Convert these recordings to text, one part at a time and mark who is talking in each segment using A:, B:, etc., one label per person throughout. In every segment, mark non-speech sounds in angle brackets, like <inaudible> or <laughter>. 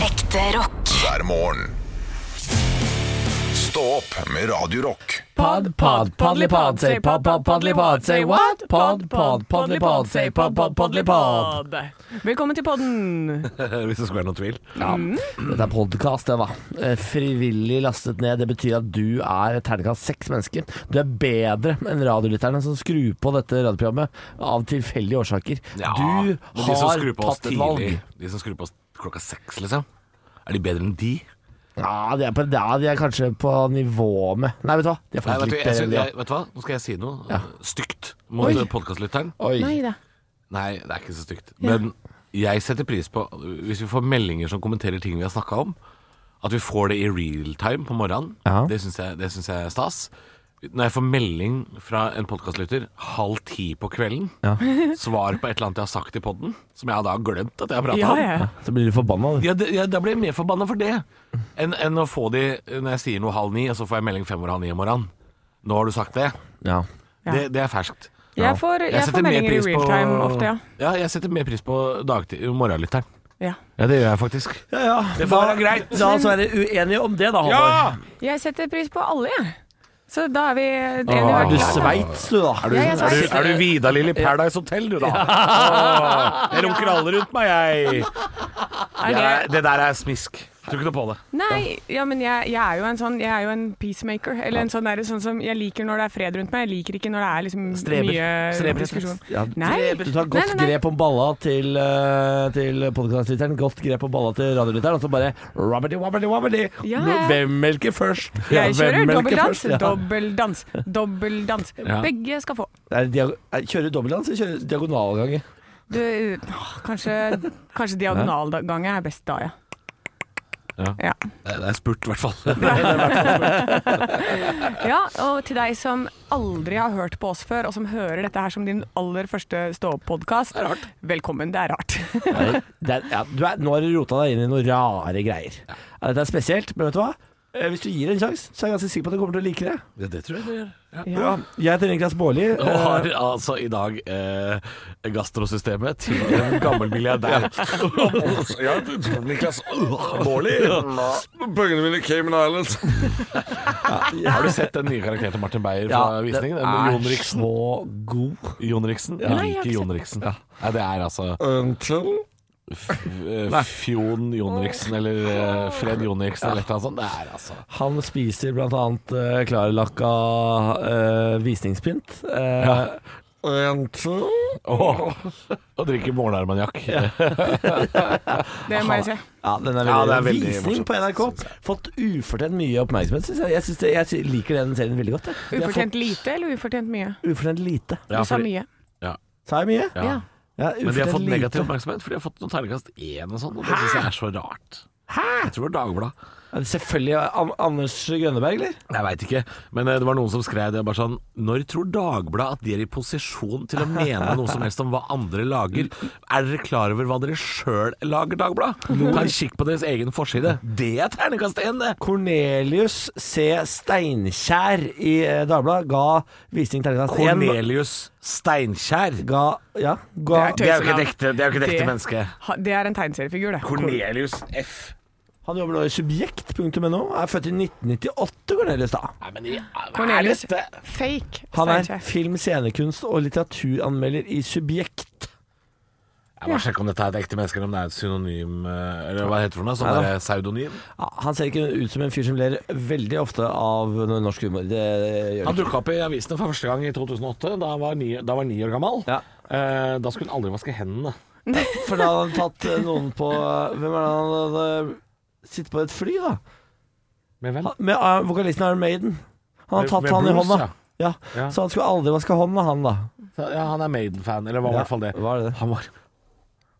A: Ekte rock.
B: hver morgen. Stå opp med Radio Rock.
C: Pod, pod, paddlypod, say pod, pod, paddlypod, say what? Pod, pod, paddlypod, say pod, pod, paddlypod.
D: Velkommen til podden.
E: Eh, Hvis det skulle være noen tvil.
C: Ja, dette er podkast, det, da. Eh, Frivillig lastet ned. Det betyr at du er et terningkast seks mennesker. Du er bedre enn radiolytterne som skrur på dette radioprogrammet av tilfeldige årsaker. du
E: men de som
C: har
E: skrur på oss
C: tatt et valg.
E: tidlig, De som skrur på oss klokka seks, liksom. Er de bedre enn de?
C: Ja, de er, på, ja, de er kanskje på nivå med Nei, vet du hva. De er
E: Nei,
C: faktisk
E: vet, du,
C: litt
E: jeg,
C: bedre
E: synes-
C: enn de.
E: jeg, vet du hva, nå skal jeg si noe eh, stygt mot
C: Oi.
E: podkastlytteren.
C: Oi.
D: da.
E: Nei, det er ikke så stygt. Men jeg setter pris på, hvis vi får meldinger som kommenterer ting vi har snakka om, at vi får det i real time på morgenen.
C: Ja.
E: Det syns jeg, det syns jeg er stas. Når jeg får melding fra en podkastlytter halv ti på kvelden, <laughs> svar på et eller annet jeg har sagt i poden, som jeg da har glemt at jeg har prata
D: Ja,
E: om,
D: ja.
C: Så blir du forbanna, du.
E: Ja, det, ja, da blir jeg mer forbanna for det enn, enn å få de når jeg sier noe halv ni, og så får jeg melding fem over halv ni om morgenen. Nå har du sagt det.
C: Ja.
D: Ja.
E: Det, det er ferskt.
D: Jeg får, jeg får meldinger i real time ofte, ja.
E: Ja, jeg setter mer pris på dagtid, morgenlytteren.
D: ja.
E: Ja, det gjør jeg faktisk.
C: ja, ja.
E: Det får være greit.
C: Da så er dere uenige om det, da, Halvor.
E: Ja!
D: Jeg setter pris på alle, jeg. Så da er vi enige
C: Ja! Er
D: hver
C: du
D: gang.
C: Sveits, du, da?
E: Er du,
D: Ja, jeg
E: er du,
D: sitter-
E: er du Vidar-Lill i Paradise Hotel, du, da? Åh, jeg runker alle rundt meg, jeg.
D: Er
E: Det, er,
D: det-
E: Eh, det der er smisk. Tror ikke noe på det.
D: Nei, ja, men jeg, jeg er jo en sånn Jeg er jo en peacemaker. Eller en sånn, der, sånn som Jeg liker når det er fred rundt meg. Jeg liker ikke når det er liksom
C: Streber.
D: mye
C: Streber.
D: diskusjon.
C: Ja,
D: Nei.
C: Du tar
D: Nei,
C: godt
D: nei, nei.
C: grep om balla til, eh, til podkastlytteren, godt grep om balla til radiolytteren, og så bare rabbity, wabbity, wabbity.
D: Ja.
C: Nå, Hvem melker først?
D: Jeg kjører
C: hvem melker
D: dobbeldans,
C: først? Ja.
E: <laughs>
D: dobbeldans, dobbeldans.
E: Ja.
D: Begge skal få.
C: Er det diag- er- Kjører du dobbeldans eller kjører du diagonalganger?
D: Du, åh, kanskje, kanskje diagonalgangen er best da, ja. Ja.
E: <laughs> Det er spurt, i hvert fall.
D: ja. Og til deg som aldri har hørt på oss før, og som hører dette her som din aller første stå-opp-podkast, velkommen. Det er
E: <laughs>
D: rart.
C: Det er- ja, du er- Nå har du rota deg inn i noen rare greier. Ja, Dette er spesielt, men vet du hva? Eh, Hvis du gir det en sjanse, så er jeg ganske sikker på at du kommer til å like det.
E: Det, det tror jeg det gjør. Ja.
C: Ja. Jeg heter Niklas Baarli. eh,
E: Og har altså i dag eh, gastrosystemet til en gammel milliardær. ja, Niklas Baarli.
F: Pengene mine i Cayman Islands.
E: Har du sett den nye karakteren til Martin Beyer fra
C: ja,
E: visningen?
C: den
E: Den med Jon
C: er
E: Riksen.
C: så god.
E: Jon
D: Nei,
E: Riksen? Jeg
D: jeg har
E: liker
D: ikke
E: Jon Riksen. Nei, det er altså
F: Until
E: f- eh, Fjon Jon Riksen eller eh, Fred Jon Riksen eller et eller annet sånt. Det er altså
C: Han spiser blant annet eh, klarlakka eh, visningspynt. Eh,
F: Until
E: Å drikke morgenarmaniakk. <laughs>
D: Det må jeg si.
C: Ja, den er veldig,
E: Ja, det er veldig
C: Visning
E: morsomt,
C: på NRK. Fått ufortjent mye oppmerksomhet, syns jeg. Jeg, synes det, jeg sy- liker den serien veldig godt. jeg. De har
D: Ufortjent lite eller ufortjent mye?
C: fått Ufortjent lite.
E: Ja,
D: Du sa
E: fordi-
D: mye.
C: Sa jeg mye?
D: Ja.
E: Ja.
C: Ja,
E: Men de har
C: ufortjent
E: fått negativ
C: lite.
E: oppmerksomhet, for de har fått noen terningkast én og sånn. Og det syns jeg er så rart. Jeg tror det var Dagbladet.
C: Ja, Selvfølgelig An Anders Grønneberg, eller?
E: Jeg veit ikke, men eh, det var noen som skrev det bare sånn Når tror Dagbladet at de er i posisjon til å mene noe som helst om hva andre lager? Er dere klar over hva dere sjøl lager, Dagbladet? Ta en kikk på deres egen forside. Det er terningkast én, det!
C: Cornelius C. Steinkjer i eh, Dagbladet ga visning terningkast én.
E: Cornelius Steinkjer.
C: Ga Ja. Ga,
D: Det er
E: et ekte, det er jo ikke et
D: Det-
E: ekte menneske.
D: Ha- Det er en tegneseriefigur, det.
E: Cornelius F.
C: han jobber nå i subjekt.no. Er født i 1998, Cornelius, da.
E: Nei, men i hva er
D: Cornelius.
E: dette?
D: Fake.
C: Han er
D: Steinkjer.
C: film, scenekunst og litteraturanmelder i Subjekt.
E: Jeg må sjekke om dette er et ekte menneske, eller om det er et synonym eh, Eller hva heter det for noe? Sånn
C: Neida.
E: der pseudonym?
C: Ja, han ser ikke ut som en fyr som ler veldig ofte av noe norsk humor. Det gjør
E: Han
C: han ikke.
E: dukka opp i avisene for første gang i 2008. Da han var ni, da var han ni år gammel.
C: Ja.
E: Eh, da skulle han aldri vaske hendene.
C: For da hadde han tatt eh, noen på Hvem er det han hadde sittet på et fly, da?
E: Med hvem?
C: Han- Med eh, vokalisten Iron Maiden. Han hadde tatt han i hånda. Ja.
E: Ja.
C: Så han skulle aldri vaske hånda, han da.
E: Ja, han er Maiden-fan, eller var i
C: Ja,
E: hvert fall det.
C: var det det?
E: Han var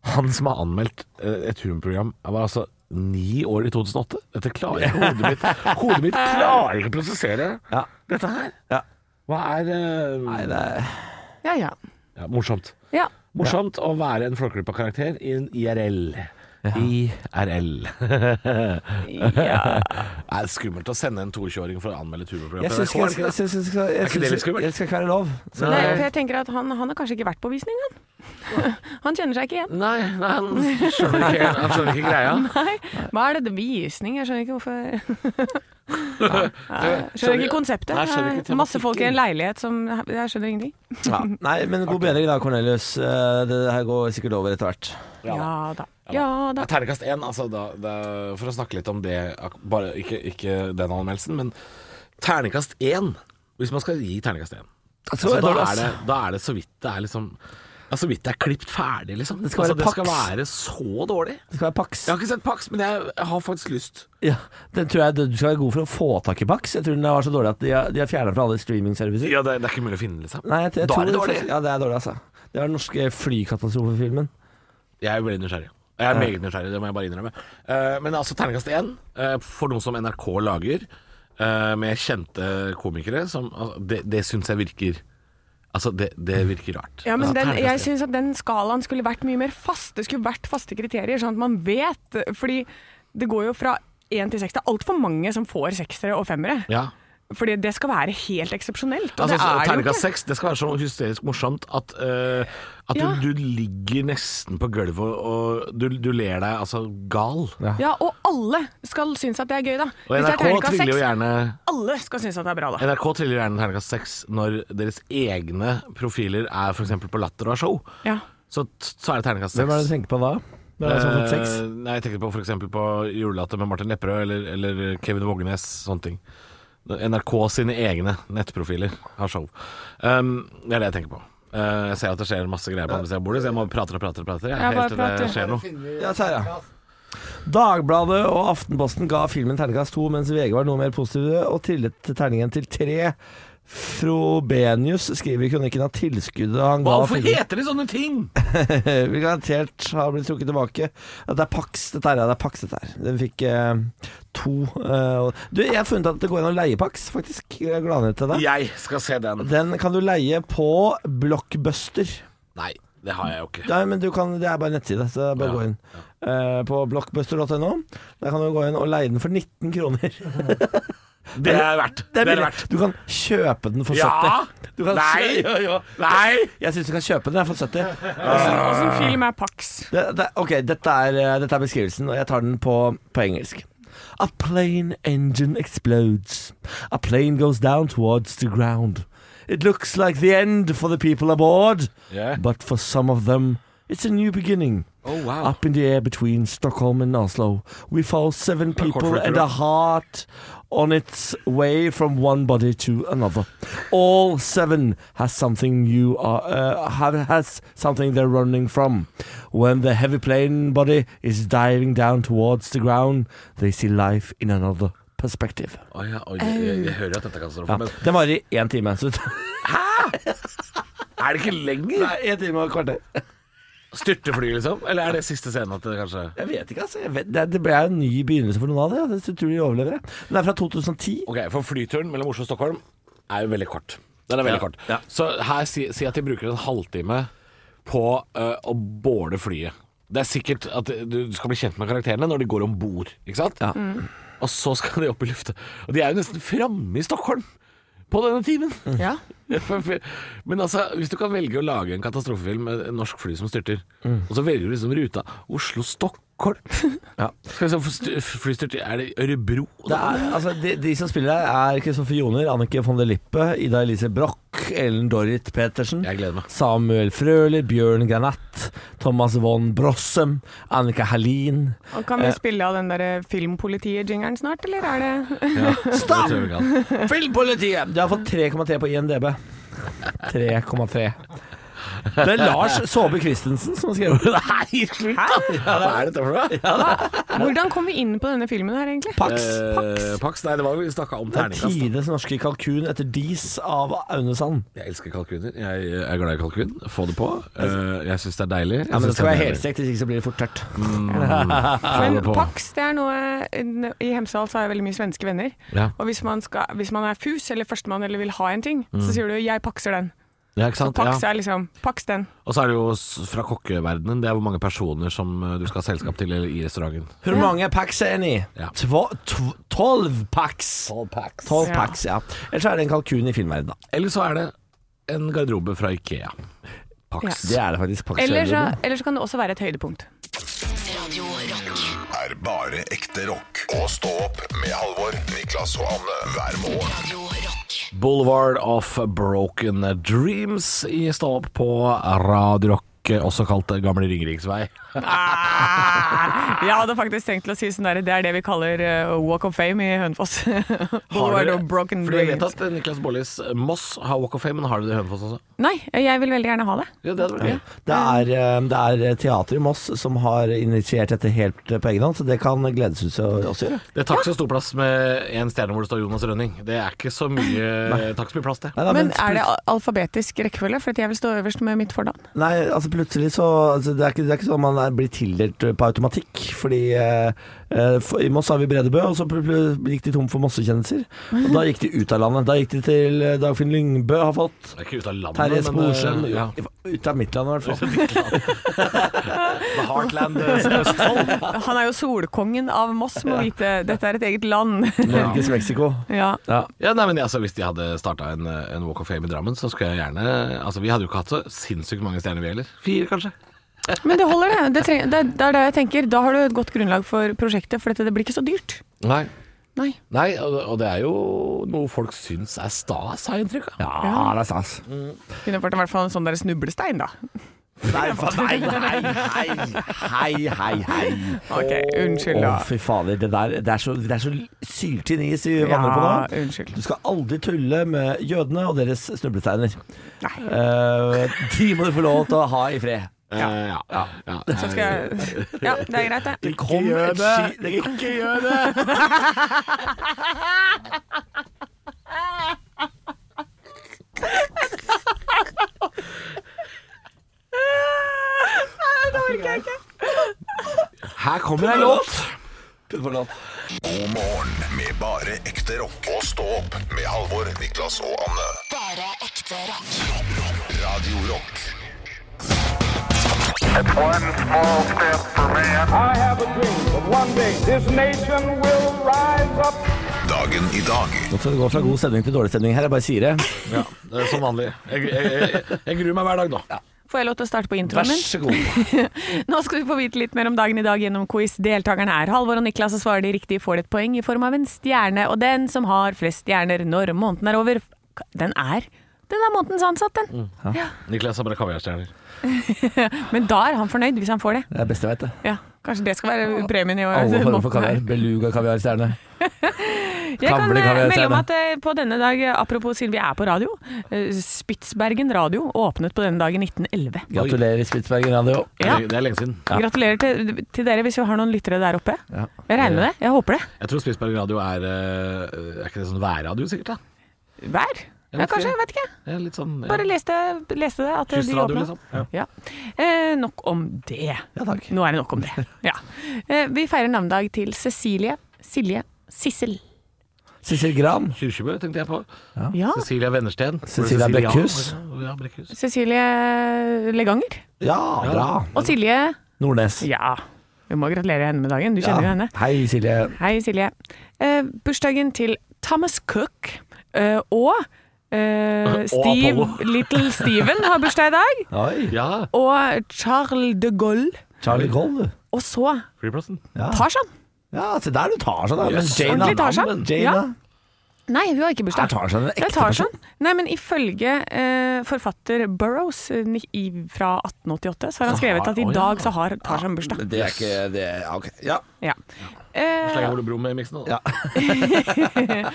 E: Han som har anmeldt eh, et humorprogram, han var altså ni år i 2008. Dette klarer jeg hodet
C: <laughs>
E: mitt. Hodet mitt klarer ikke å prosessere
C: Ja.
E: dette her.
C: Ja.
E: Hva er eh,
C: Nei, det er
D: Ja, ja.
E: ja, Morsomt.
D: ja.
E: Morsomt å være en Flåklypa-karakter i en IRL.
C: <laughs>
E: IRL. <laughs> Det er skummelt å sende en 22-åring for å anmelde et humorprogram.
C: Jeg
E: på
C: syns
E: NRK,
C: ikke
E: er det
C: jeg syns- jeg syns- jeg
E: ikke det litt
C: syns-
E: skummelt?
C: jeg skal ikke være lov. Så
D: Nei, for jeg tenker at han, han har kanskje ikke vært på visning, han. Han <laughs> kjenner seg ikke igjen.
E: Nei, nei han, skjønner ikke, han skjønner ikke greia.
D: Nei. Hva er dette visning? Jeg skjønner ikke hvorfor <laughs> Nei, jeg Skjønner ikke konseptet.
E: Nei, jeg skjønner ikke
D: Det er Masse folk i en leilighet som Jeg skjønner ingenting.
C: Ja. Nei, men god bedring da, Cornelius. Eh, Det her går sikkert over etter hvert.
E: Ja da.
D: Ja da. Ja da.
E: Ternekast én, altså, da, da, for å snakke litt om det ak- bare, ikke, ikke den anmeldelsen, men ternekast én Hvis man skal gi ternekast én, altså, da, er det, da er det så vidt det er liksom ja, Så vidt det er klipt ferdig, liksom.
C: Det skal være
E: altså, det skal
C: Pax.
E: være så dårlig.
C: Det skal være Pax.
E: Jeg har ikke sett Pax, men jeg, jeg har faktisk lyst.
C: Ja, den tror jeg Du skal være god for å få tak i Pax. Jeg tror den var så dårlig at de har, de har fjerna fra alle streamingservicer.
E: Ja, det, er ikke mulig å finne, liksom.
C: Nei, jeg, jeg
E: Da
C: tror
E: er det dårlig.
C: Ja, det er dårlig, altså. Det var den norske flykatastrofefilmen.
E: Jeg er veldig nysgjerrig. Jeg er meget nysgjerrig, det må jeg bare innrømme. Eh, men altså terningkast én, eh, for noe som NRK lager, eh, med kjente komikere, som, altså, det, det syns jeg virker Altså, det, det virker rart.
D: Ja, men
E: altså,
D: den,
E: terningkast én.
D: jeg syns at den skalaen skulle vært mye mer fast. Det skulle vært faste kriterier, sånn at man vet. Fordi det går jo fra én til seks. Det er altfor mange som får seksere og femmere.
E: ja.
D: Fordi det skal være helt eksepsjonelt. Og
E: Altså,
D: det er det jo
E: Terningkast
D: ikke.
E: seks, det skal være så hysterisk morsomt at, eh, at
D: Ja.
E: du, du ligger nesten på gulvet og, og du, du ler deg altså gal.
D: Ja, og alle skal synes at det er gøy, da.
E: Og
D: Hvis det er
E: NRK
D: terningkast
E: triller jo
D: seks,
E: gjerne
D: alle skal synes at det er bra, da.
E: NRK triller gjerne terningkast seks når deres egne profiler er f.eks. på Latter og har show.
D: Ja.
E: Så, så er det terningkast
C: Hvem er det du
E: seks.
C: tenker på da? Hvem er det som har fått sex?
E: Eh, nei, jeg tenker på f.eks. på Julelatter med Martin Lepperød eller, eller Kevin Vågenes, sånne ting. NRK sine egne nettprofiler har show. Um, det er det jeg tenker på. Eh, jeg ser at det skjer masse greier på andre siden av bordet, så jeg må prate og prate og prate. Jeg,
D: Ja, bare
E: helt til det
D: prate.
E: skjer noe.
C: Ja, Terje. Dagbladet og Aftenposten ga filmen terningkast to, mens VG var noe mer positive og trillet terningen til tre. Frobenius skriver i kronikken at tilskuddet han ga
E: Hvorfor
C: filmen
E: heter de sånne ting?!
C: <laughs> vil garantert ha blitt trukket tilbake. At det er Pax, dette her. Ja, det er Pax, dette her. Den fikk eh, to. eh, og- du, jeg har funnet at det går an å leie Pax, faktisk. Jeg er glad til deg.
E: Jeg skal se den.
C: Den kan du leie på Blockbuster.
E: Nei, det har jeg jo ikke.
C: Nei, men du kan, det er bare en nettside, så det er bare
E: Ja,
C: å gå inn. Eh, på blockbuster.no. Der kan du gå inn og leie den for 19 kroner. <laughs> Det er
E: Det er verdt. Det er
C: billig.
E: verdt.
C: Du kan kjøpe den for 70.
E: Ja!
C: Du kan
E: Nei!
C: kjø- Jo, jo.
E: Nei!
C: Jeg syns du kan kjøpe den den er for 70.
D: Åssen film er Pax?
C: Det, det, ok, dette er, eh, dette er beskrivelsen, og jeg tar den på, på engelsk. A plane engine explodes. A plane goes down towards the ground. It looks like the end for the people aboard,
E: Yeah.
C: but for some of them, it's a new beginning.
E: Oh, wow.
C: Up in the air between Stockholm and Oslo, we found seven people and a heart on its way from one body to another. All seven has something new, uh, uh, have, has something they're running from. When the heavy plane body is diving down towards the ground, they see life in another perspective.
E: Å ja, oi, jeg, jeg, jeg hører at dette er katastrofe,
C: Ja.
E: men
C: Den varer i én time. Så
E: er det ikke lenger?
C: Nei, én time og et kvarter.
E: Styrtefly, liksom? Eller er det siste scenen at det kanskje
C: Jeg vet ikke, altså. Jeg vet, det, det ble en ny begynnelse for noen av det. Jeg tror de overlever det. Den er fra 2010.
E: Ok, for flyturen mellom Oslo og Stockholm er jo veldig kort. Den er veldig kort. Så her si, si at de bruker en halvtime på øh, å båle flyet. Det er sikkert at du du skal bli kjent med karakterene når de går om bord, ikke sant?
C: Ja.
E: Og så skal de opp i lufta. Og de er jo nesten framme i Stockholm på denne timen.
D: Ja.
E: Men altså, hvis du kan velge å lage en katastrofefilm med en norsk fly som styrter, og så velger du liksom ruta
C: <laughs>
E: Oslo-Stockholm
C: Ja.
E: Skal vi se, for styr- flystyrt Er det Ørebro?
C: Det er, altså, de, de som spiller her, er Kristoffer Joner, Annike von der Lippe, Ida Elise Broch, Ellen Dorrit Petersen,
E: Jeg gleder meg.
C: Samuel Frøler, Bjørn Granat, Thomas von Brossem, Annika Hallin
D: Og kan
E: Eh.
D: vi spille av den der eh, filmpolitiet-jingeren snart, eller er det
E: Stopp!
C: Filmpolitiet! Du har fått 3,3 på INDb. 3,3. Det er Lars Saabye Christensen som har skrevet <laughs> det.
E: Nei, slutt da! Hva er dette for noe?
D: Hvordan kom vi inn på denne filmen her, egentlig?
C: Pax.
E: Eh, Pax, nei, det var jo vi snakka om
C: Det er
E: terningkast.
C: tides norske kalkun etter dis av Aune Sand.
E: Jeg elsker kalkuner. Jeg eh, er glad i kalkun. Få det på. Eh, jeg syns det er deilig. Jeg
C: Ja, men det
E: synes
C: skal
E: er
C: være
E: deilig.
C: helstekt, hvis ikke så blir det fort tørt.
E: Få
D: Men
E: det på.
D: Pax, det er noe eh, I Hemsedal så har jeg veldig mye svenske venner.
E: Ja.
D: Og hvis man, skal, hvis man er fus eller førstemann eller vil ha en ting, så sier du 'jeg pakser den'.
E: ja, ikke sant?
D: Pax
E: Mm. Ja.
D: er liksom 'paks den'.
E: Og så er det jo s- fra kokkeverdenen. Det er hvor mange personer som eh, du skal ha selskap til eller i restauranten.
C: Hvor mange packs er en i?
E: Ja.
C: Tvo- tv- Tolv packs. Tolv
D: Ja.
C: packs, ja. Ellers er det en kalkun i filmverdenen, da.
E: Eller så er det en garderobe fra Ikea. Pax.
C: Det er det faktisk. Pax
D: Eller så,
C: Celebre.
D: eller så kan det også være et høydepunkt.
A: Radio Rock.
B: Er bare ekte rock. Og stå opp med Halvor, Niklas og Anne hver morgen.
A: Radio Rock.
E: Boulevard of Broken Dreams i Stå opp på Radio Rock. Også kalt Gamle Ringeriksvei.
D: Ah, <laughs> jeg hadde faktisk tenkt til å si sånn der, det er det vi kaller eh, walk of fame i Hønefoss. <laughs> Boulevard of broken
E: Fordi jeg vet
D: dreams.
E: at Niklas Baarlis Moss har Walk of Fame, men har dere det i Hønefoss også?
D: Nei, jeg vil veldig gjerne ha det.
E: Ja, det hadde vært gøy.
C: Det er, eh, det er teater i Moss som har initiert dette helt eh, på egen hånd, så det kan Gledeshuset også gjøre.
E: Det tar ikke så stor plass med en stjerne hvor det står Jonas Rønning. Det er ikke så mye, tar ikke så mye plass, det.
C: Nei, da,
D: Men
C: men
D: er det al- alfabetisk rekkefølge? For at jeg vil stå øverst med mitt fornavn.
C: Nei, altså plutselig så altså det, er ikke, det er ikke sånn man er, blir tildelt på automatikk. Fordi eh, eh, for, i Moss har vi Bredebø, og så pl pl gikk de tom for Mossekjendiser. Og da gikk de ut av landet. Da gikk de til eh, Dagfinn Lyngbø har fått.
E: Det er ikke ute av landet,
C: Terje
E: men, eh,
C: Sporsem.
E: ja.
C: Ut av mitt land, i hvert <laughs> fall.
E: The Heartland eh, Østfold.
D: Han er jo solkongen av Moss, må vite. Dette er et eget land.
C: Norges Mexico.
D: Ja.
E: Ja, nei, men altså, Hvis de hadde starta en, eh, en Walk of Fame i Drammen, så skulle jeg gjerne Altså, Vi hadde jo ikke hatt så sinnssykt mange stjerner, vi heller. Fire, kanskje.
D: Men det holder, det. Det, treng, det. Det er det jeg tenker. Da har du et godt grunnlag for prosjektet, for dette det blir ikke så dyrt.
E: Nei.
D: Nei.
E: Nei, og, og det er jo noe folk syns er stas, har jeg inntrykk av.
C: Ja, Mm. det er stas.
D: Kunne vært i hvert fall en sånn der snublestein, da.
C: Nei, fa- nei, hei, hei, hei, hei, hei.
D: Ok, unnskyld,
C: Å,
D: da.
C: fy fader. Det der det er så, det er så syltynn is vi vandrer på nå.
D: Ja, unnskyld.
C: Du skal aldri tulle med jødene og deres snublesteiner.
D: Nei.
C: Eh, de må du få lov til å ha i fred.
E: Ja. Eh, ja. ja.
D: Så skal jeg Ja, det er greit, det.
C: kom et sky- det kom-
E: Ikke gjør det! Eh, Her kommer ei låt.
B: God morgen med bare ekte rock. Og stå opp med Halvor, Niklas og Anne.
A: Bare ekte rock.
B: Rock, rock, Radio Rock.
G: One small step for man. I have a dream that one day this nation will rise up.
B: Dagen i dag.
C: Nå skal det gå fra god stemning til dårlig stemning her, jeg bare sier det.
E: Ja, det er som vanlig. Jeg, jeg, jeg, jeg gruer meg hver dag nå.
D: Får jeg lov til å starte på introen min?
E: så god.
D: <laughs> Nå skal vi få vite litt mer om dagen i dag gjennom quiz. Deltakerne er Halvor og Niklas, og svarer de riktig får de et poeng i form av en stjerne. Og den som har flest stjerner når måneden er over, den er den er månedens ansatt, den.
C: Mm.
E: Niklas har bare kaviarstjerner.
D: Men da er han fornøyd, hvis han får det.
C: Det er det beste jeg vet. det.
D: Ja, Kanskje det skal være premien i år.
C: Alle former for
D: måneden her.
C: kaviar. Beluga kaviarstjerne.
D: Jeg kan
C: Kavle,
D: eh,
C: kan vi si
D: melde om
C: det.
D: at eh, på denne dag, eh, apropos siden vi er på radio, eh, Spitsbergen radio åpnet på denne dagen i 1911.
C: Gratulerer, Spitsbergen Radio.
D: Ja.
E: Det er lenge siden.
D: Gratulerer til, til dere hvis vi har noen lyttere der oppe.
C: Ja.
D: Jeg regner med det. Jeg håper det.
E: Jeg tror Spitsberg radio er eh, Er ikke det sånn værradio, sikkert? da?
D: Hver.
E: vet
D: Ja,
E: ikke.
D: kanskje, jeg vet ikke.
E: Ja, litt sånn ja.
D: Bare leste, leste det. At de
E: Kystradio,
D: åpna.
E: liksom. Ja.
D: Ja. Eh, nok om det.
C: Ja, takk.
D: Nå er det nok om det. Ja. Eh, vi feirer navnedag til Cecilie, Silje, Sissel.
C: Sissel Gran.
E: Kyrkjebø tenkte jeg på.
D: Ja.
E: Cecilia Vennersten.
C: Cecilia
E: Var det
C: Brekkhus.
E: Ja, Brekkhus.
D: Cecilie Leganger.
C: Ja, bra.
D: Og Silje
C: Nordnes.
D: Ja. Vi må gratulere henne med dagen. Du kjenner jo henne.
C: Hei, Silje.
D: Hei, Silje. Eh, bursdagen til Thomas Cook eh, og eh, Steve,
E: Apollo.
D: Little Steven har bursdag i dag.
C: Oi.
E: Ja,
D: Og Charles de Gaulle.
C: Charlie Gold. du.
D: Og så
E: flyplassen.
C: Ja.
D: Tarzan.
C: ja, se der du tar seg, da. Men
E: Yes.
C: Jane,
D: Ordentlig
C: da.
D: Tarzan.
C: Men
D: Ja.
C: Jane, da.
D: Nei, hun har ikke
C: Der
D: bursdag.
C: tar seg en
D: Det
C: ekte
D: er
C: person.
D: Tarzan. Nei, men ifølge eh, forfatter Burroughs eh, ni- i- fra 1888, så har han skrevet at i
E: Å, ja.
D: dag så har Tarzan bursdag.
C: Det er ikke det er, ja, Ok. Ja.
D: Ja. Eh,
E: Slenger Ole Brumm i miksen nå. da.
C: Ja.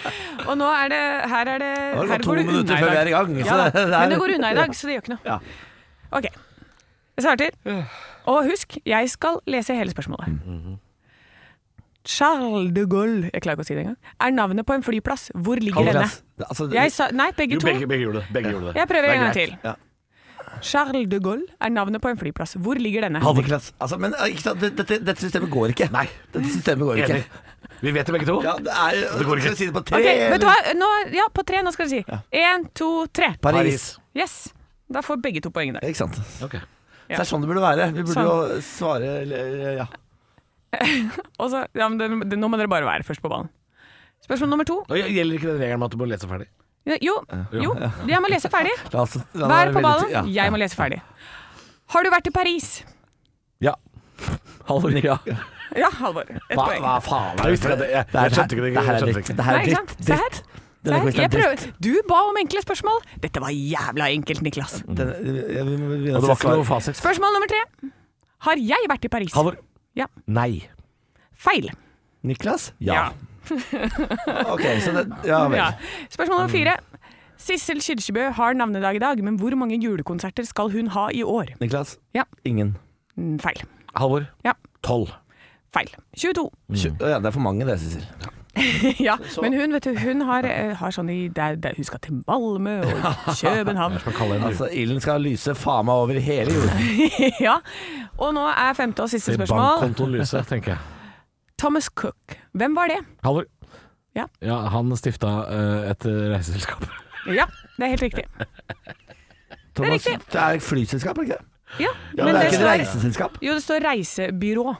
D: og nå er det Her er det
C: Det
D: her
C: var bare to
D: går det
C: minutter
D: unna i
C: før vi
D: dag.
C: er i gang. <laughs> så
D: Ja, da.
C: det er-
D: men det går unna i dag, så det gjør ikke noe.
C: Ja. Øh.
D: Ok, jeg starter. Og husk, jeg skal lese hele spørsmålet.
C: Mm, mhm.
D: Charles de Gaulle jeg klarer ikke å si det engang, er navnet på en flyplass. Hvor ligger denne?
C: Niklas, det- altså,
D: Jeg sa, nei, begge
E: Jo,
D: to.
E: begge, begge gjorde det. Begge gjorde det.
D: Jeg prøver
E: Det er
D: en gang
E: greit.
D: til.
C: Ja.
D: Charles de Gaulle er navnet på en flyplass. Hvor ligger denne?
C: Halvor Niklas. Altså, men eh, ikke sant? Dette, dette, dette systemet går ikke. Nei, dette systemet går ikke.
E: Enig. Vi vet det begge to.
C: Ja, det er
E: Det går ikke.
C: Skal vi si det på tre?
D: Ok, vet du
C: eller?
D: hva? Nå, ja, på tre, nå skal du si. Én, to, tre.
C: Paris.
D: Yes. Da får begge to poeng der.
C: Ikke sant.
E: Ok.
C: Så det er sånn det burde være. Vi burde
D: Sånn.
C: jo svare eller, ja.
D: Og så, ja, men det, det, nå må dere bare være først på ballen. Spørsmål nummer to.
E: Og gjelder ikke den regelen med at du må lese ferdig?
D: Jo, jo, jeg må lese
C: <laughs>
D: ferdig.
C: La oss- la
D: Vær
C: det være
D: på
C: veldig- ja.
D: ballen, jeg må lese ferdig. Har du vært i Paris?
E: Ja. Halvor, ja.
D: Ja, Halvor. Et
C: Hva,
D: poeng.
C: hva faen er
E: Jeg
C: det?
E: visste ikke det. Jeg-
C: Det er-
E: jeg skjønte ikke det.
C: Det her
E: Jeg
C: er
E: skjønte
C: dritt.
E: ikke.
C: Det her
D: Nei,
C: er
D: ikke
C: dritt.
D: sant? Se her.
C: dritt.
D: Se
C: Denne
D: her,
C: quizen er
D: Jeg
C: dritt.
D: prøver. Du ba om enkle spørsmål. Dette var jævla enkelt, Niklas.
C: Den, jeg, vi må begynne å
E: Og det var
C: se
E: ikke noe
C: svar.
E: fasit.
D: Spørsmål nummer tre. Har jeg vært i Paris?
E: Halvor.
D: Ja.
E: Nei.
D: Feil.
C: Niklas?
E: Ja.
C: Ok, så det, ja vel.
D: Ja. Spørsmål
C: Mm.
D: nummer fire. Sissel Kyrkjebø har navnedag i dag, men hvor mange julekonserter skal hun ha i år?
C: Niklas?
D: Ja.
C: Ingen.
D: Mm, Feil.
E: Halvor.
D: Ja.
E: Tolv.
D: Feil. 22.
E: Mm.
C: Tju- Ja, det er for mange det, Sissel.
D: <laughs> ja, men hun, vet du, hun har, eh, har sånn i der, der, Hun skal til Malmö
C: <laughs>
D: og København.
C: Altså, ilden skal lyse faen meg over hele jorden.
D: <laughs> ja. Og nå er femte og siste spørsmål.
E: Bankkontoen lyser, tenker jeg.
D: Thomas Cook. Hvem var det?
E: Halvor.
D: Ja.
E: han stifta eh, et reiseselskap.
D: Ja, det er helt
C: <laughs>
D: riktig.
C: Thomas,
D: riktig.
C: det er flyselskap, er det ikke det?
D: Ja,
C: Ja, det er ikke et
D: står,
C: reiseselskap.
D: jo, det står reisebyrå.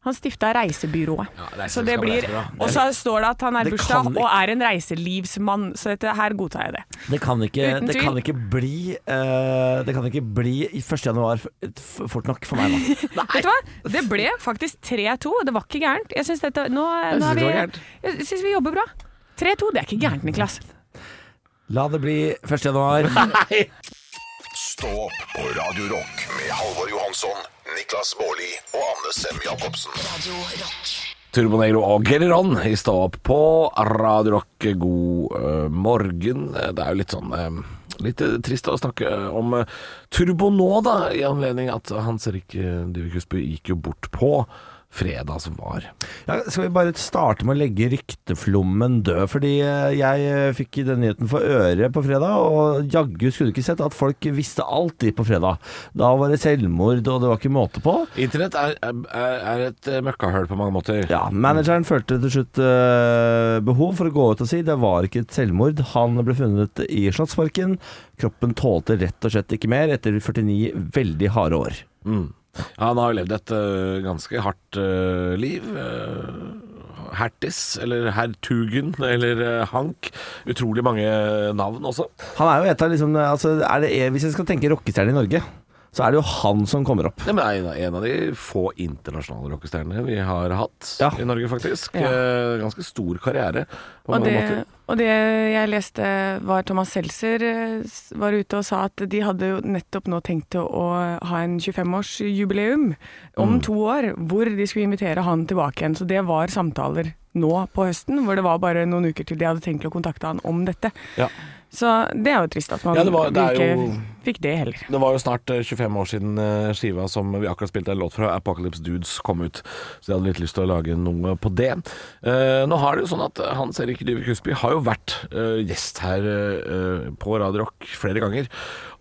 D: Han stifta reisebyrået. så det blir, og så står det at han er
C: Det
D: bursdag
C: kan
D: og er en reiselivsmann, så dette her godtar jeg det.
C: Det kan ikke,
D: Uten
C: det
D: tvil.
C: kan ikke bli eh, Det kan ikke bli i 1. januar f- f- fort nok for meg, da.
D: Vet du hva? Det ble faktisk 3-2. Det var ikke gærent. Jeg syns dette Nå, nå
E: synes
D: er
E: det
D: vi
E: var gærent.
D: Jeg syns vi jobber bra. 3-2, det er ikke gærent, Niklas.
C: La det bli 1. januar.
B: Stå opp på Radio Rock med Halvor Johansson, Niklas Baarli og Anne Sem Jacobsen.
A: Radio Rock.
E: Turbo Negro og Geriron i Stå opp på Radio Rock. God eh, morgen. Eh, Det er jo litt sånn eh, Litt eh, trist å snakke eh, om eh, Turbo nå, da, i anledning at Hans Erik eh, Dyvik Husby gikk jo bort på fredag som var.
C: Ja, skal vi bare starte med å legge rykteflommen død? Fordi eh, jeg eh, fikk den nyheten for øret på fredag, og jaggu skulle du ikke sett at folk visste alt de på fredag. Da var det selvmord, og det var ikke måte på.
E: Internett er, er, er et eh, møkkahøl på mange måter.
C: Ja, Manageren følte til slutt eh, behov for å gå ut og si det var ikke et selvmord. Han ble funnet i Slottsparken. Kroppen tålte rett og slett ikke mer etter 49 veldig harde år.
E: Mm. Ja, han har jo levd et øh, ganske hardt øh, liv. øh, Hertis, eller Hertugen, eller øh, Hank. Utrolig mange navn også.
C: Han er jo et av liksom altså, er det, Hvis jeg skal tenke rockestjerne i Norge, så er det jo han som kommer opp.
E: Nei, men er en av- en av de få internasjonale rockestjernene vi har hatt
C: Ja.
E: i Norge, faktisk.
D: Ja.
E: Eh, Ganske stor karriere på
D: Og
E: mange
D: det,
E: måter.
D: og det jeg leste var Thomas Seltzer eh, s- var ute og sa at de hadde jo nettopp nå tenkt å å ha en 25-årsjubileum om
E: Mm.
D: to år, hvor de skulle invitere han tilbake igjen. Så det var samtaler nå på høsten, hvor det var bare noen uker til de hadde tenkt å kontakte han om dette.
E: Ja.
D: Så det er jo trist at man
E: Ja, det var- det er
D: ikke
E: jo-
D: fikk det heller.
E: Det var jo snart eh, 25 år siden eh, skiva som vi akkurat spilte en låt fra, Apocalypse Dudes, kom ut. Så jeg hadde litt lyst til å lage noe på det. Eh, nå har det jo sånn at Hans Erik Dyvik Husby har jo vært eh, gjest her eh, på Radio Rock flere ganger.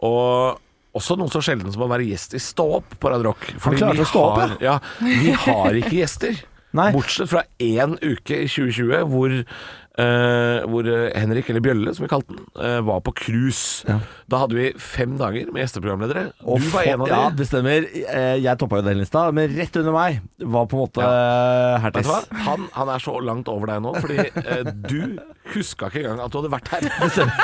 E: Og også noen så sjelden som å være gjest i Stå opp på Radio Rock. Fordi
C: klarte
E: vi
C: å stå opp,
E: har- ja. Vi har ikke gjester.
C: <laughs> Nei.
E: Bortsett fra én uke i 2020 hvor, eh, hvor eh, Henrik, eller Bjølle som vi kalte den, eh, var på cruise. Da hadde vi fem dager med gjesteprogramledere.
C: Og
E: du var
C: få-
E: en av
C: ja,
E: dem.
C: det stemmer. Eh, Jeg toppa jo den lista, men rett under meg var på en måte eh,
E: Vet
C: Hertis.
E: du hva? Han, han er så langt over deg nå, fordi eh, du huska ikke engang at du hadde vært her.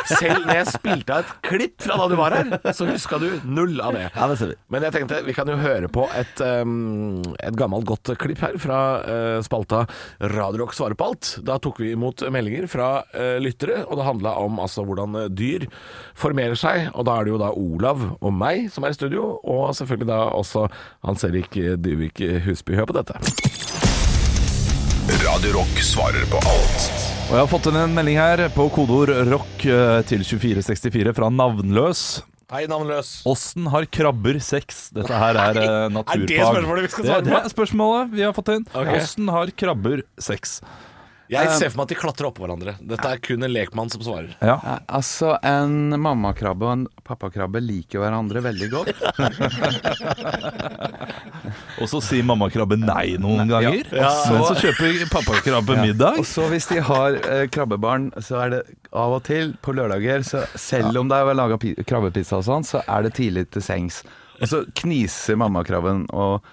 E: Selv når jeg spilte av et klipp fra da du var her, så huska du null av det.
C: Ja, det stemmer.
E: Men jeg tenkte vi kan jo høre på et, um, et gammelt godt klipp her fra eh, spalta Radiorock svarer på alt. Da tok vi imot meldinger fra eh, lyttere, og det handla om altså, hvordan eh, dyr formerer seg. Og da er det jo da Olav og meg som er i studio, og selvfølgelig da også Hans Erik Dyvik Husby. Hør på dette.
B: Radio Rock svarer på alt.
H: Og jeg har fått inn en melding her på kodeord rock eh, til 2464 fra navnløs.
E: Hei, navnløs.
H: Åssen har krabber sex? Dette her er eh, naturfag.
E: det spørsmålet vi skal svare
H: Det, det
E: på?
H: er spørsmålet vi har fått inn.
E: Ok.
H: Åssen har krabber sex?
E: Jeg ser for meg at de klatrer oppå hverandre. Dette er kun en lekmann som svarer.
H: Ja.
I: Altså, en mammakrabbe og en pappakrabbe liker hverandre veldig godt.
H: <laughs> Og så sier mammakrabbe nei noen ganger. Men så kjøper pappakrabbe middag.
I: Og så hvis de har eh, krabbebarn, så er det av og til på lørdager så Selv om det er laga krabbepizza og sånn, så er det tidlig til sengs. Og så kniser mammakrabben og,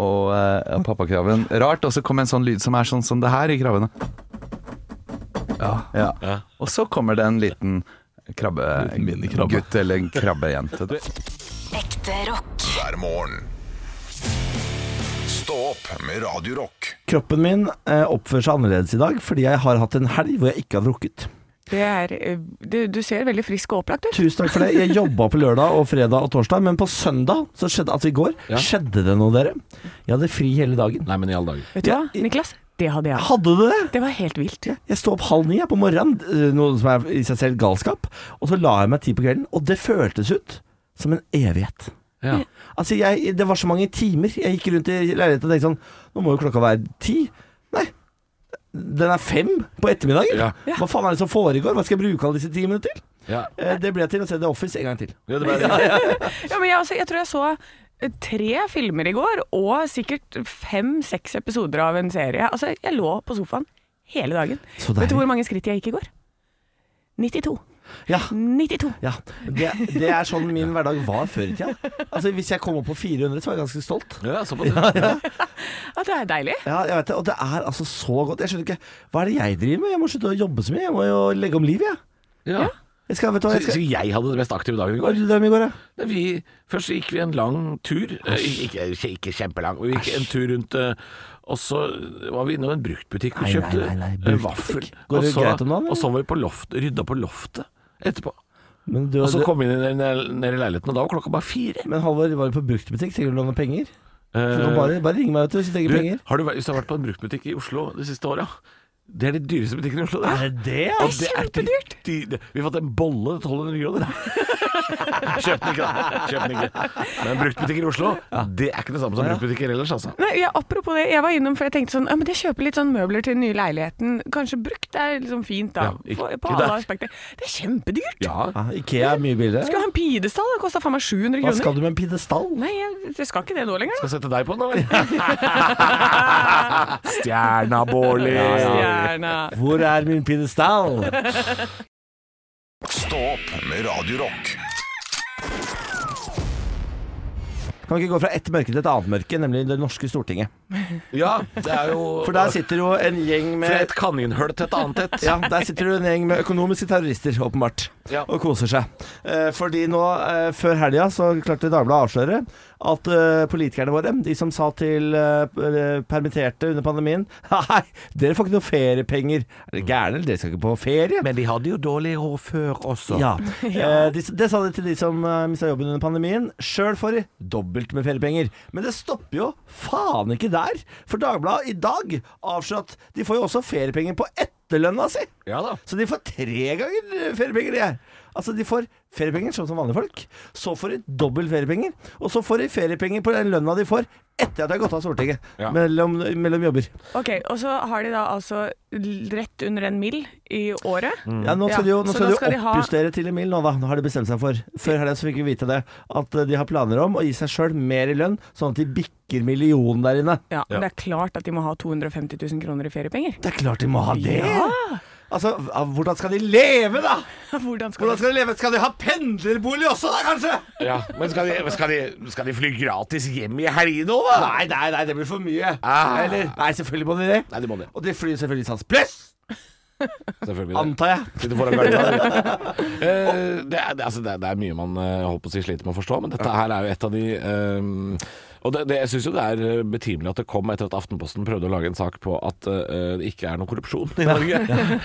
I: og eh, pappakrabben rart, og så kommer en sånn lyd som er sånn som det her i krabbene. Ja. Og så kommer det en liten
H: Liten minikrabbe.
I: krabbegutt eller en krabbejente.
A: Ekte rock.
B: hver morgen. Stå opp med Radio Rock.
C: Kroppen min eh, oppfører seg annerledes i dag fordi jeg har hatt en helg hvor jeg ikke har drukket.
D: Det er, eh, du, du ser veldig frisk og opplagt ut.
C: Tusen takk for det. Jeg jobba på lørdag og fredag og torsdag, men på søndag, så skjedde, altså i går, skjedde det noe, dere. Jeg hadde fri hele dagen.
E: Nei, men i alle dager.
D: Vet du
C: Ja,
D: hva, Niklas? Det hadde jeg.
C: Hadde du det?
D: Det var helt vilt.
C: Jeg sto opp halv ni jeg, på morgenen, eh, noe som er i seg selv galskap, og så la jeg meg ti på kvelden, og det føltes ut som en evighet.
E: Ja.
C: Altså, jeg, det var så mange timer. Jeg gikk rundt i leiligheten og tenkte sånn Nå må jo klokka være ti. Nei, den er fem på ettermiddagen.
E: Ja.
C: Hva faen er det som foregår? Hva skal jeg bruke alle disse timene til?
E: Ja.
C: Eh, Det ble til å se The Office en gang til.
E: Ja, det ble,
D: Ja, men jeg, altså, jeg tror jeg så eh, tre filmer i går, og sikkert fem-seks episoder av en serie. Altså, jeg lå på sofaen hele dagen.
C: Så
D: Vet du
C: deilig.
D: hvor mange skritt jeg gikk i går? 92.
C: Ja.
D: 92.
C: Ja, det, det er sånn min hverdag var før i tida. Altså, hvis jeg kom opp på 400, så var jeg ganske stolt.
E: ja, såpass. Ja,
D: Ja, det er deilig.
C: Ja, jeg vet det, Og det er altså så godt. Jeg skjønner ikke Hva er det jeg driver med? Jeg må slutte å jobbe så mye. Jeg må jo legge om livet, jeg.
E: ja.
C: Jeg skal, vet du hva,
E: Så,
C: jeg
E: så
C: skal
E: jeg hadde den mest aktive dagen i
C: Hva
E: går.
C: gjorde dere i går, da?
E: Nei, Vi, først gikk vi en lang tur, Eh, ikke, ikke- ikke kjempelang, men vi gikk en tur rundt eh, Og så var vi innom en bruktbutikk og
C: Nei, nei,
E: kjøpte
C: nei, nei,
E: eh,
C: bruktbutikk.
E: vaffel.
C: Går
E: Og
C: det
E: så,
C: greit om dagen, eller?
E: og så var vi på loft, rydda på loftet etterpå.
C: Men, du,
E: Og så
C: du-
E: kom vi ned, ned, ned i leiligheten, og da var klokka bare fire.
C: men Halvor, var du på bruktbutikk? Sikkert låne penger? Så du kan
E: Eh,
C: bare, bare ring meg, vet du, hvis du trenger
E: du,
C: penger.
E: har du, vært- hvis du har vært på en bruktbutikk i Oslo de siste åra Det er de dyreste butikkene i Oslo. det.
C: det,
E: Og det er kjempedyrt! Vi har fått en bolle til 1200 kroner. <laughs> Kjøp den ikke, da. Kjøp den ikke. Men bruktbutikker i Oslo, det er ikke det samme som bruktbutikker ellers, altså.
D: Nei, ja, apropos det, jeg var innom for jeg tenkte sånn, ja, men jeg kjøper litt sånn møbler til den nye leiligheten. Kanskje brukt er liksom fint da,
E: Ja,
D: på,
E: ikke-
D: på
E: ikke
D: alle
E: der.
D: aspekter. Det er kjempedyrt.
E: Ja.
C: Ja, Ikea er mye billigere.
D: Skulle ha en pidestall, det kosta faen meg 700
C: Hva
D: kroner.
C: skal du med en pidestall?
D: Nei, jeg, jeg skal ikke det nå lenger. da.
E: Skal sette
C: <laughs>
E: deg på den, da vel? Stjerna, Bårli.
D: Stjerna.
C: Hvor er min
E: <laughs>
C: pidestall?
B: Stå opp med Radio Rock.
C: Kan vi ikke gå fra ett mørke til et annet mørke, nemlig Det norske stortinget?
E: Ja, det er jo
C: For der sitter jo en gjeng med
E: Fra et kaninhull til et annet et.
C: Ja, der sitter det en gjeng med økonomiske terrorister, åpenbart,
E: Ja.
C: og koser seg. Eh, fordi nå, eh, før helga, så klarte Dagbladet å avsløre at eh, politikerne våre, de som sa til eh, p- eh, permitterte under pandemien <laughs> Nei, dere får ikke noe feriepenger. Er dere gærne? eller? Dere skal ikke på ferie.
E: Mm. Men de hadde jo dårlig råd før også.
C: Ja. Eh, de, det sa de til de som eh, mista jobben under pandemien. Sjøl får de dobbelt med feriepenger. Men det stopper jo faen ikke der. For Dagbladet i dag avslører at de får jo også feriepenger på etterlønna si.
E: Ja da.
C: Så de får tre ganger feriepenger, de her. Altså, de får feriepenger sånn som vanlige folk. Så får de dobbelt feriepenger. Og så får de feriepenger på den lønna de får etter at de har gått av Stortinget.
E: Ja.
C: Mellom, mellom jobber.
D: Ok, og så har de da altså l- rett under en mil i året.
C: Ja, nå skal de jo
D: Ja,
C: nå
D: så
C: skal
D: da
C: de
D: skal de
C: jo
D: ha-
C: oppjustere til Emil nå, da. Nå har de bestemt seg for. Før helga så fikk vi vite det. At eh, de har planer om å gi seg sjøl mer i lønn, sånn at de bikker millionen der inne.
D: Ja, men det er klart at de må ha 250 000 kroner i feriepenger.
C: Det er klart de må ha det!
D: Ja. <laughs>
C: Altså, av- hvordan skal de leve, da?
D: Hvordan skal
C: Hvordan
D: de
C: skal de leve? Skal de ha pendlerbolig også, da, kanskje?
E: Ja. Men skal de, skal, de, skal de fly gratis hjem i helgene òg, da?
C: Nei, nei, nei, det blir for mye.
E: Ah.
C: Eller, nei, selvfølgelig må de det.
E: Nei, de må det.
C: Og de flyr selvfølgelig sans pluss,
E: Selvfølgelig.
C: antar jeg.
E: Sitter
C: <laughs>
E: foran gardina. Eh, det, er, det, altså, det, er, det er mye man eh, holdt på å si sliter med å forstå, men dette her er jo et av de eh, og det, det, Jeg syns jo det er eh, betimelig at det kom etter at Aftenposten prøvde å lage en sak på at eh, det ikke er noe korrupsjon i
C: <laughs>
E: Norge.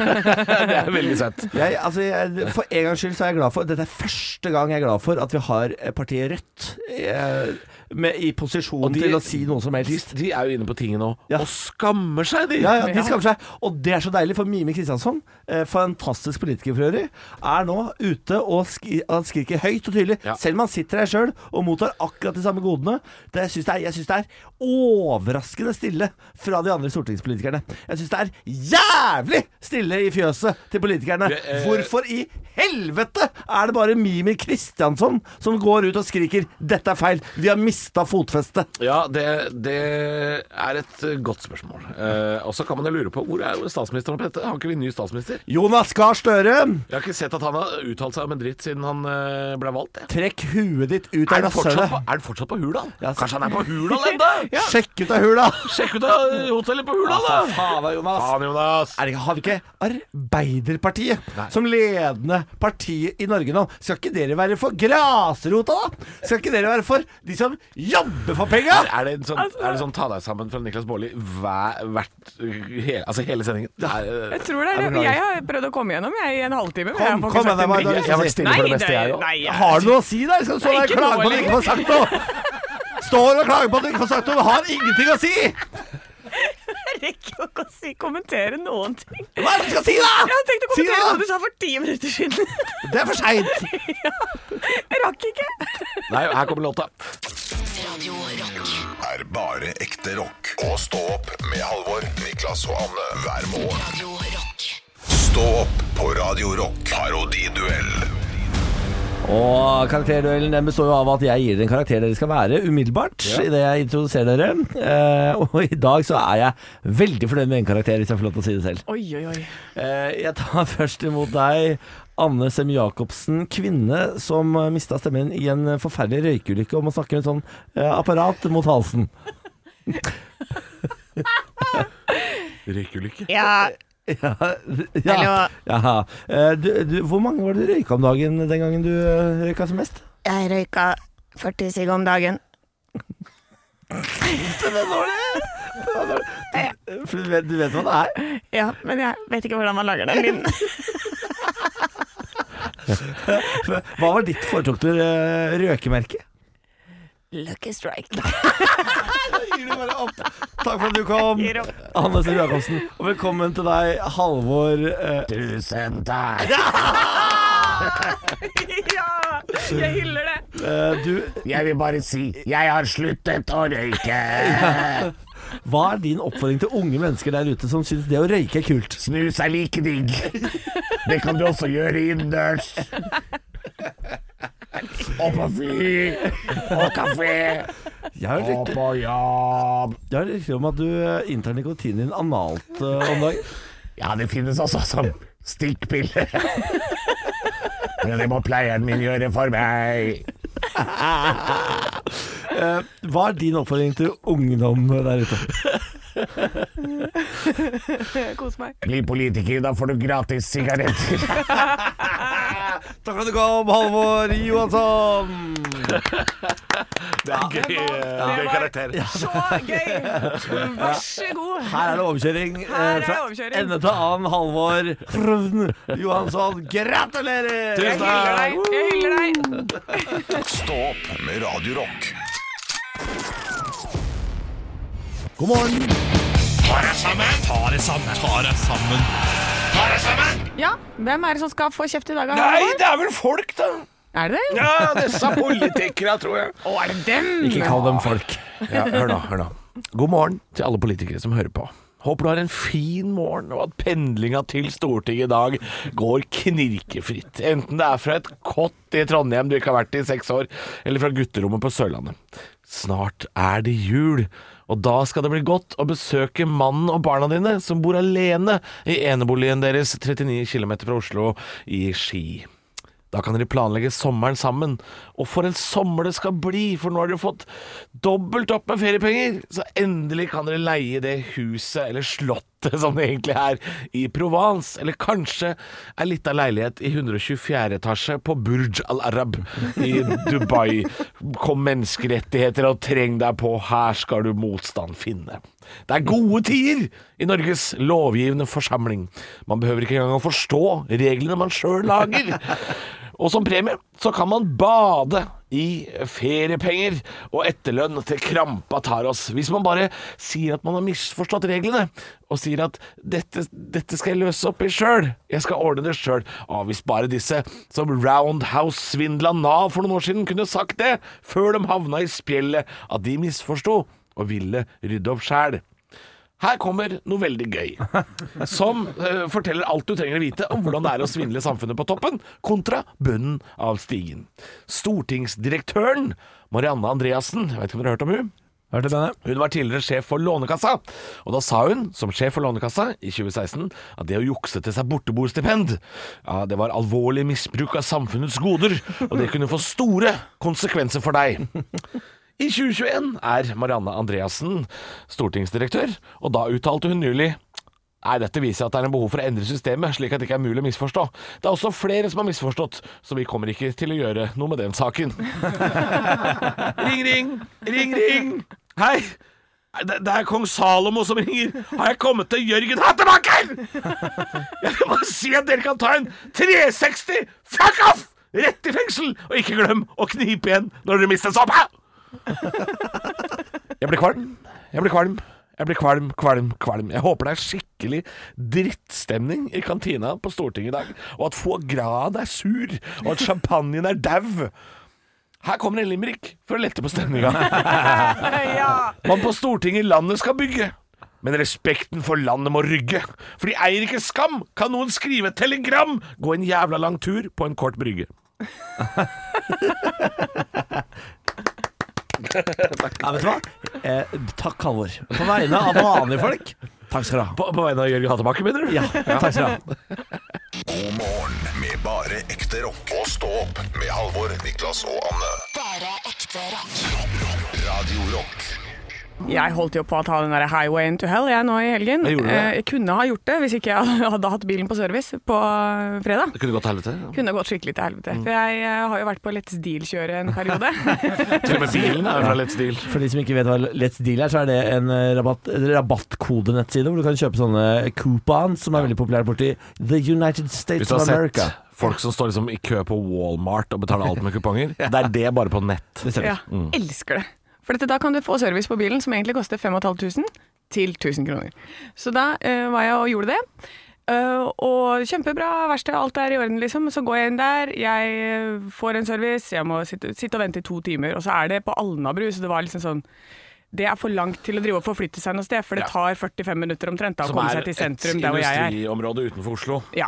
E: <laughs> det er veldig søtt.
C: jeg, altså, jeg for en gangs skyld så er jeg glad for Dette er første gang jeg er glad for at vi har eh, partiet Rødt eh, med, i posisjon
E: Og de-
C: til å si noe som
E: De,
C: helst.
E: de er jo inne på tinget nå
C: Ja.
E: og skammer seg, de!
C: Ja, ja, de skammer seg. Og det er så deilig, for Mime Kristiansson, eh, fantastisk politiker for øvrig, er nå ute og skri han skriker høyt og tydelig,
E: Ja.
C: selv om han sitter her sjøl og mottar akkurat de samme godene. Det, jeg syns det, er- jeg syns det er overraskende stille fra de andre stortingspolitikerne. Jeg syns det er jævlig stille i fjøset til politikerne.
E: Det, eh,
C: Hvorfor i helvete er det bare Mime Kristiansson som går ut og skriker 'dette er feil', vi har mista fotfestet?
E: Ja, det, det er et eh, godt spørsmål. Eh, og så kan man jo lure på hvor er jo statsministeren oppi dette? Har ikke vi ny statsminister?
C: Jonas Gahr Støre,
E: Jeg har ikke sett at han har uttalt seg om en dritt siden han eh, ble valgt. Jeg.
C: trekk huet ditt ut
E: Er
C: av
E: han fortsatt
C: rasshølet.
E: på, er han fortsatt på Hurdal?
C: Ja, så-
E: Kanskje han er på
C: <laughs>
E: Hurdal <laughs> ennå?
C: Sjekk ut av
D: <laughs>
C: hula!
E: Sjekk ut av hotellet på
C: Ja,
E: Hurdal,
C: for
E: da!
C: faen da, Jonas.
E: Faen, Jonas.
C: Er det, har vi ikke Arbeiderpartiet som ledende partiet i Norge nå? Skal ikke dere være for grasrota, da? Skal ikke dere være for de som jobber for penga?
E: Er, er, det en sånn, er det sånn ta deg sammen fra Niklas Baarli hver, hvert hele, Altså hele sendingen? Det er, eh,
D: Jeg tror det er det. Jeg har prøvd å komme gjennom jeg, i en halvtime. men jeg
C: Kom,
D: får ikke
C: kom
D: sagt
C: med
D: en
C: deg, hva
D: dritt.
C: du har lyst til å si.
E: Nei,
D: Nei,
E: det-
D: nei, jeg-
C: Har du noe å si der? Skal du stå
D: Nei,
C: der og
D: ikke
C: klage
D: nå
C: på at du ikke får sagt noe? Står og klager på at du ikke får sagt noe, du har ingenting å si!
D: Jeg rekker jo ikke å si, kommentere noen ting.
C: Hva er det du skal si, da?
D: Jeg tenkte å
C: Si det,
D: kommentere
C: da!
D: hva du sa for ti minutter siden. <laughs>
C: Det er for seint.
D: Jeg rakk ikke.
E: Nei, her kommer låta.
A: Radio Rock.
B: er bare ekte rock. Og stå opp med Halvor, Niklas og Anne hver morgen.
A: Radio Rock.
B: Stå opp på Radio Rock. Parodiduell
C: Og karakterduellen den består jo av at jeg gir dere en karakter dere skal være umiddelbart idet jeg introduserer dere. Eh, og i dag så er jeg veldig fornøyd med en karakter, hvis jeg får lov til å si det selv.
D: Oi, oi, oi.
C: Eh, Jeg tar <laughs> først imot deg, Anne Sem-Jacobsen, kvinne som mista stemmen i en forferdelig røykeulykke og må snakke med et sånn eh, apparat mot halsen. <laughs>
E: Røykeulykke.
D: Ja,
C: Ja, ja,
D: Hallo.
C: ja. Eh, Du, du, hvor mange var det du røyka om dagen den gangen du eh, røyka som mest?
D: jeg røyka 40 sigg om dagen.
C: For du vet, du vet hva det er.
D: Ja, men jeg vet ikke hvordan man lager den lyden.
C: Hva var ditt foretrukne eh, røkemerke?
D: Lucky strike.
C: Takk for at du kom,
D: Gir opp.
C: Anne Sem-Jacobsen. Og velkommen til deg, Halvor. eh, Tusen takk.
D: <laughs> ja, jeg hyller det.
C: eh, Du,
E: Jeg vil bare si jeg har sluttet å røyke.
C: Hva er din oppfordring til unge mennesker der ute som syns det å røyke er kult?
E: Snus er like digg. Det kan du også gjøre innendørs. Og på fly, og kafé,
C: Jeg har
E: og
C: rykter
E: på jobb.
C: jeg har rykter om at du eh, inntar nikotinen din analt eh,
E: <laughs>
C: om dagen.
E: Ja, det finnes også som stikkpille.
C: <laughs>
E: Men det må pleieren min gjøre for meg.
C: <laughs> Eh, Hva er din oppfordring til ungdom der ute?
D: <laughs> Kos meg.
E: Bli politiker, da får du gratis sigaretter.
C: Takk for at du kom, Halvor Johansson.
E: Det er gøy,
D: gøy karakter. Så
E: <laughs>
D: gøy! Vær så god.
C: Her er det overkjøring. eh,
D: Her er det
C: fra
D: overkjøring.
C: Ende til annen Halvor Johansson. Gratulerer!
D: Jeg hyller deg. Jeg hyller deg.
B: Stå opp med Radio Rock.
C: God morgen.
D: Ja, hvem er det som skal få kjeft i dag? da?
E: det er vel folk, da.
D: Er det det?
E: Ja, disse politikere, tror jeg.
D: Å, er det dem?
C: Ikke kall dem folk.
E: Ja, hør nå, hør nå. God morgen til alle politikere som hører på. Håper du har en fin morgen, og at pendlinga til Stortinget i dag går knirkefritt. Enten det er fra et kott i Trondheim du ikke har vært i i seks år, eller fra gutterommet på Sørlandet. Snart er det jul, og da skal det bli godt å besøke mannen og barna dine som bor alene i eneboligen deres 39 km fra Oslo i Ski. Da kan dere planlegge sommeren sammen. Og for en sommer det skal bli, for nå har dere fått dobbelt opp med feriepenger. Så endelig kan dere leie det huset, eller slottet <laughs> som det egentlig er, i Provence. Eller kanskje ei lita leilighet i 124 etasje på Burj Al Arab i Dubai. Kom menneskerettigheter og treng deg på, her skal du motstand finne. Det er gode tider i Norges lovgivende forsamling. Man behøver ikke engang å forstå reglene man sjøl lager. Og som premie så kan man bade i feriepenger og etterlønn til krampa tar oss. Hvis man bare sier at man har misforstått reglene, og sier at dette, dette skal jeg løse opp i sjøl, jeg skal ordne det sjøl. Ah, hvis bare disse som Roundhouse svindla Nav for noen år siden kunne sagt det, før de havna i spjeldet, at de misforsto og ville rydde opp sjæl. Her kommer noe veldig gøy, som eh, forteller alt du trenger å vite om hvordan det er å svindle samfunnet på toppen, kontra bunnen av stigen. Stortingsdirektøren Marianne Andreassen, jeg vet ikke om dere har hørt om hun?
J: Hørte denne?
E: Hun var tidligere sjef for Lånekassa, og da sa hun, som sjef for Lånekassa i 2016, at det å jukse til seg borteboerstipend, ja, det var alvorlig misbruk av samfunnets goder, og det kunne få store konsekvenser for deg. I 2021 er Marianne Andreassen stortingsdirektør, og da uttalte hun nylig Nei, dette viser at det er en behov for å endre systemet, slik at det ikke er mulig å misforstå. Det er også flere som har misforstått, så vi kommer ikke til å gjøre noe med den saken. <laughs> Ring, ring, ring, ring Hei det, det er kong Salomo som ringer Har jeg kommet til Jørgen Hattemaker? Jeg vil bare si at dere kan ta en 360 Fuck off! Rett i fengsel Og ikke glem å knipe igjen Når dere mister såpa Jeg blir kvalm Jeg blir kvalm jeg blir kvalm, kvalm, kvalm. Jeg håper det er skikkelig drittstemning i kantina på Stortinget i dag, og at foie gras er sur, og at champagnen er dau. Her kommer en limerick for å lette på stemninga. Man på Stortinget landet skal bygge, men respekten for landet må rygge. For de eier ikke skam. Kan noen skrive et telegram? Gå en jævla lang tur på en kort brygge.
C: Ja, vet du hva? Eh, takk, Halvor. På vegne av vanlige folk, takk skal du ha.
E: På, på vegne av Jørgen Hattemaker, mener du?
C: Ja, takk skal du ha.
B: God morgen med bare ekte rock. Og stå opp med Halvor, Niklas og Anne.
A: Bare ekte rock.
B: Radio Rock.
D: Jeg holdt jo på å ta den der highway into hell jeg nå i helgen.
E: Jeg gjorde det.
D: Eh, Jeg kunne ha gjort det hvis ikke jeg hadde hatt bilen på service på fredag.
E: Det kunne Mm. gått til helvete.
D: Kunne gått skikkelig til helvete. For jeg eh, har jo vært på Let's Deal-kjøret en periode.
E: <laughs> Til og med bilen er jo fra Let's Deal.
C: For de som ikke vet hva Let's Deal er, så er det en eh, rabatt, en rabattkodenettside hvor du kan kjøpe sånne coupons som er veldig populære borti The United States
E: Hvis du
C: of
E: har sett
C: America.
E: folk som står liksom i kø på Walmart og betaler alt
D: <laughs>
E: med kuponger, det er det bare på nett.
D: ja,
E: Mm.
D: elsker det. For dette, da kan du få service på bilen som egentlig koster 5500 til 1000 kroner. Så da eh, var jeg og gjorde det. Eh, og kjempebra, verksted, alt er i orden, liksom. Så går jeg inn der, jeg eh, får en service, jeg må sitte, sitte og vente i to timer. Og så er det på Alnabru, så det var liksom sånn Det er for langt til å drive og forflytte seg noe sted, for det tar 45 minutter omtrent da, å
E: Som
D: komme
E: er
D: seg til
E: et
D: sentrum der hvor jeg er.
E: industriområde utenfor Oslo.
D: Ja.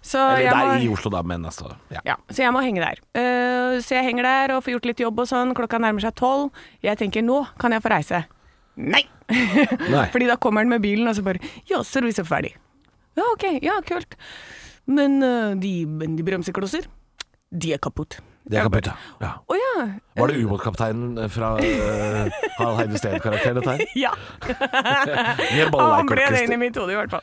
D: Så
E: Eller
D: jeg
E: der
D: må-
E: i Oslo, da, men altså. Ja.
D: ja, så jeg må henge der. Eh, så jeg henger der og får gjort litt jobb og sånn. Klokka nærmer seg tolv. Jeg tenker nå kan jeg få reise. Nei!
E: Nei.
D: Fordi da kommer han med bilen og så bare Ja, service er ferdig. Ja, OK. Ja, kult. Men eh, de, men de bremseklosser, de er kaputt.
E: Det er kaputt, ja.
D: Å ja.
E: Var det ubåtkapteinen fra uh, Harald Heide Steen-karakteren, dette her?
D: Ja.
E: Vi
D: Ah, han ble det
E: er ballekorkester.
D: inn i mitt hode, i hvert fall.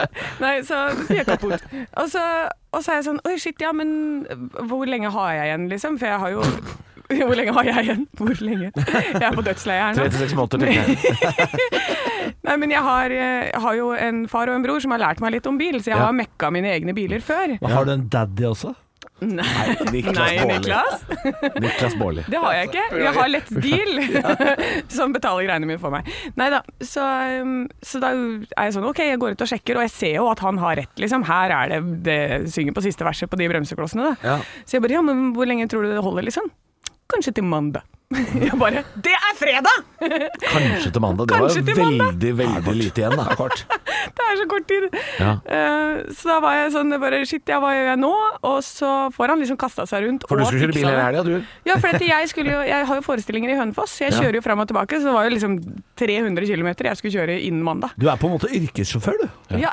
D: <laughs> Nei, så de er kaputt. Og så, og så er jeg sånn Oi, shit, ja, men eh, hvor lenge har jeg igjen, liksom? For jeg har jo <laughs> Hvor lenge har jeg igjen? Hvor lenge? Jeg er på dødsleiet her nå.
E: 36 måneder, tenker jeg.
D: Nei, men jeg har, eh, har jo en far og en bror som har lært meg litt om bil, så jeg
E: Ja.
D: har mekka mine egne biler før.
C: Hva, Har du en daddy også?
D: Nei,
E: Niklas Baarli.
D: Niklas.
E: Niklas Baarli.
D: Det har jeg ikke. Jeg har
E: <laughs>
D: Let's Deal, <laughs> som betaler greiene mine for meg. Nei da. Så, um, så da er jeg sånn OK, jeg går ut og sjekker, og jeg ser jo at han har rett, liksom. Her er det det synger på siste verset på de bremseklossene, da.
E: Ja.
D: Så jeg bare ja, men hvor lenge tror du det holder, liksom? Kanskje til mandag. <laughs> Jeg bare Det er fredag!
E: Kanskje til mandag. Det var
D: Kanskje
E: jo
D: til mandag.
E: veldig, veldig lite igjen, da. Kort.
D: Det er så kort tid.
E: Ja.
D: Eh, så da var jeg sånn bare Shit, ja, hva gjør jeg nå? Og så får han liksom kasta seg rundt.
E: For du
D: og
E: skulle kjøre
D: fiksa
E: bil hele
D: det.
E: helga, du.
D: Ja, for at jeg, skulle jo, jeg har jo forestillinger i Hønefoss. Jeg kjører jo fram og tilbake, så det var jo liksom 300 km jeg skulle kjøre innen mandag.
C: Du er på en måte yrkessjåfør, du.
D: Ja.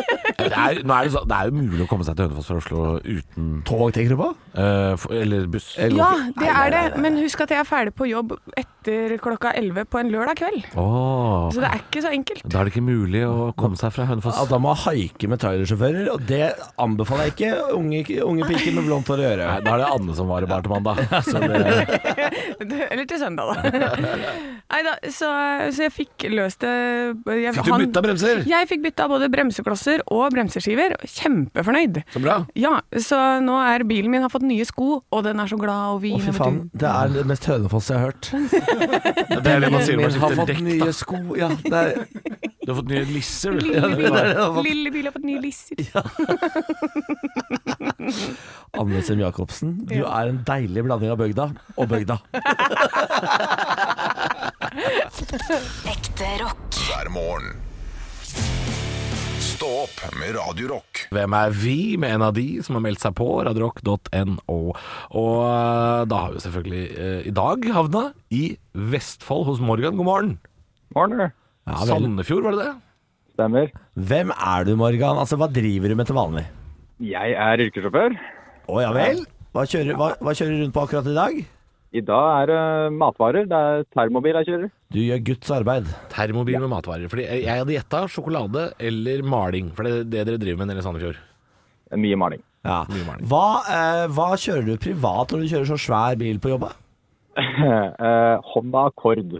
E: <laughs> Det er, nå er det, så, det er jo mulig å komme seg til Hønefoss fra Oslo uten
C: Tog, tenker du på?
E: eh, f- Eller buss. Eller,
D: ja, det er det. Men husk at jeg er ferdig på jobb etter klokka 11 på en lørdag kveld.
E: Åh,
D: Så det er ikke så enkelt.
E: da er det ikke mulig å komme seg fra Hønefoss.
C: At da må haike med trailersjåfører, og det anbefaler jeg ikke unge, unge piker med blondt hår å gjøre.
E: Nei, da er det Anne som var i bar til mandag. Så det,
D: Eller til søndag, da.
E: <laughs>
D: Nei da, så, så jeg fikk løst det jeg,
E: fikk du
D: han-
E: bytta bremser?
D: Jeg fikk bytta både bremseklosser og bremseskiver. Kjempefornøyd.
E: Så bra.
D: Ja, så nå er bilen min har fått nye sko, og den er så glad og
C: Å,
D: fin.
C: fy faen. Det er det mest Hønefoss jeg har hørt.
E: Det er det man sier når man
C: har
E: skifter
C: fått
E: dekk.
C: nye sko. Ja, det er
E: Du har fått nye lisser, du.
D: Lille bil,
C: det har fått-
D: lille bil har fått nye lisser.
C: Anne Sem Jacobsen. Du er en deilig blanding av bygda og bygda.
A: Ekte rock.
B: hver morgen. Stå opp med Radio Rock.
E: Hvem er vi med en av de som har meldt seg på? Radiorock.no. Og eh, da har vi selvfølgelig eh, i dag havna i Vestfold hos Morgan. God morgen.
J: Morgen,
E: Sandefjord, var det det?
J: stemmer.
C: Hvem er du, Morgan? Altså, Hva driver du med til vanlig?
J: Jeg er yrkessjåfør.
C: Å ja vel? Hva kjører, hva, hva kjører du rundt på akkurat i dag?
J: I dag er det matvarer. Det er termobil jeg kjører.
C: Du gjør Guds arbeid.
E: Termobil med matvarer. Fordi jeg jeg hadde gjetta sjokolade eller maling. For det er det dere driver med nede i Sandefjord.
J: Det er Mye maling. <laughs>
C: Ja.
E: Mye maling.
C: Hva, eh, hva kjører du privat når du kjører så svær bil på jobb? da?
J: Eh, Honda Accord.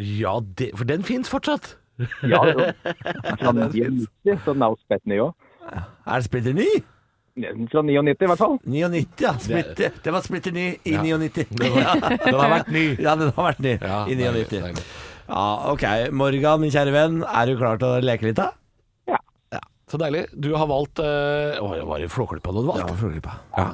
E: Ja, det, for den fins fortsatt.
J: Ja, det er fra 99, så den er jo spett ny òg.
C: Er det splitter ny?
J: Fra 99 i hvert fall.
C: 99, ja. Splitter. Det var splitter ny i
E: Ja.
C: 99.
E: Den har vært ny.
C: Ja, den har vært ny
E: Ja,
C: i
E: deilig,
C: 99.
E: deilig.
C: Ja, ok. Morgan, min kjære venn, er du klar til å leke litt, da?
E: Så deilig. Du har valgt eh, Å, det var det Flåklypa du hadde valgt? Ja,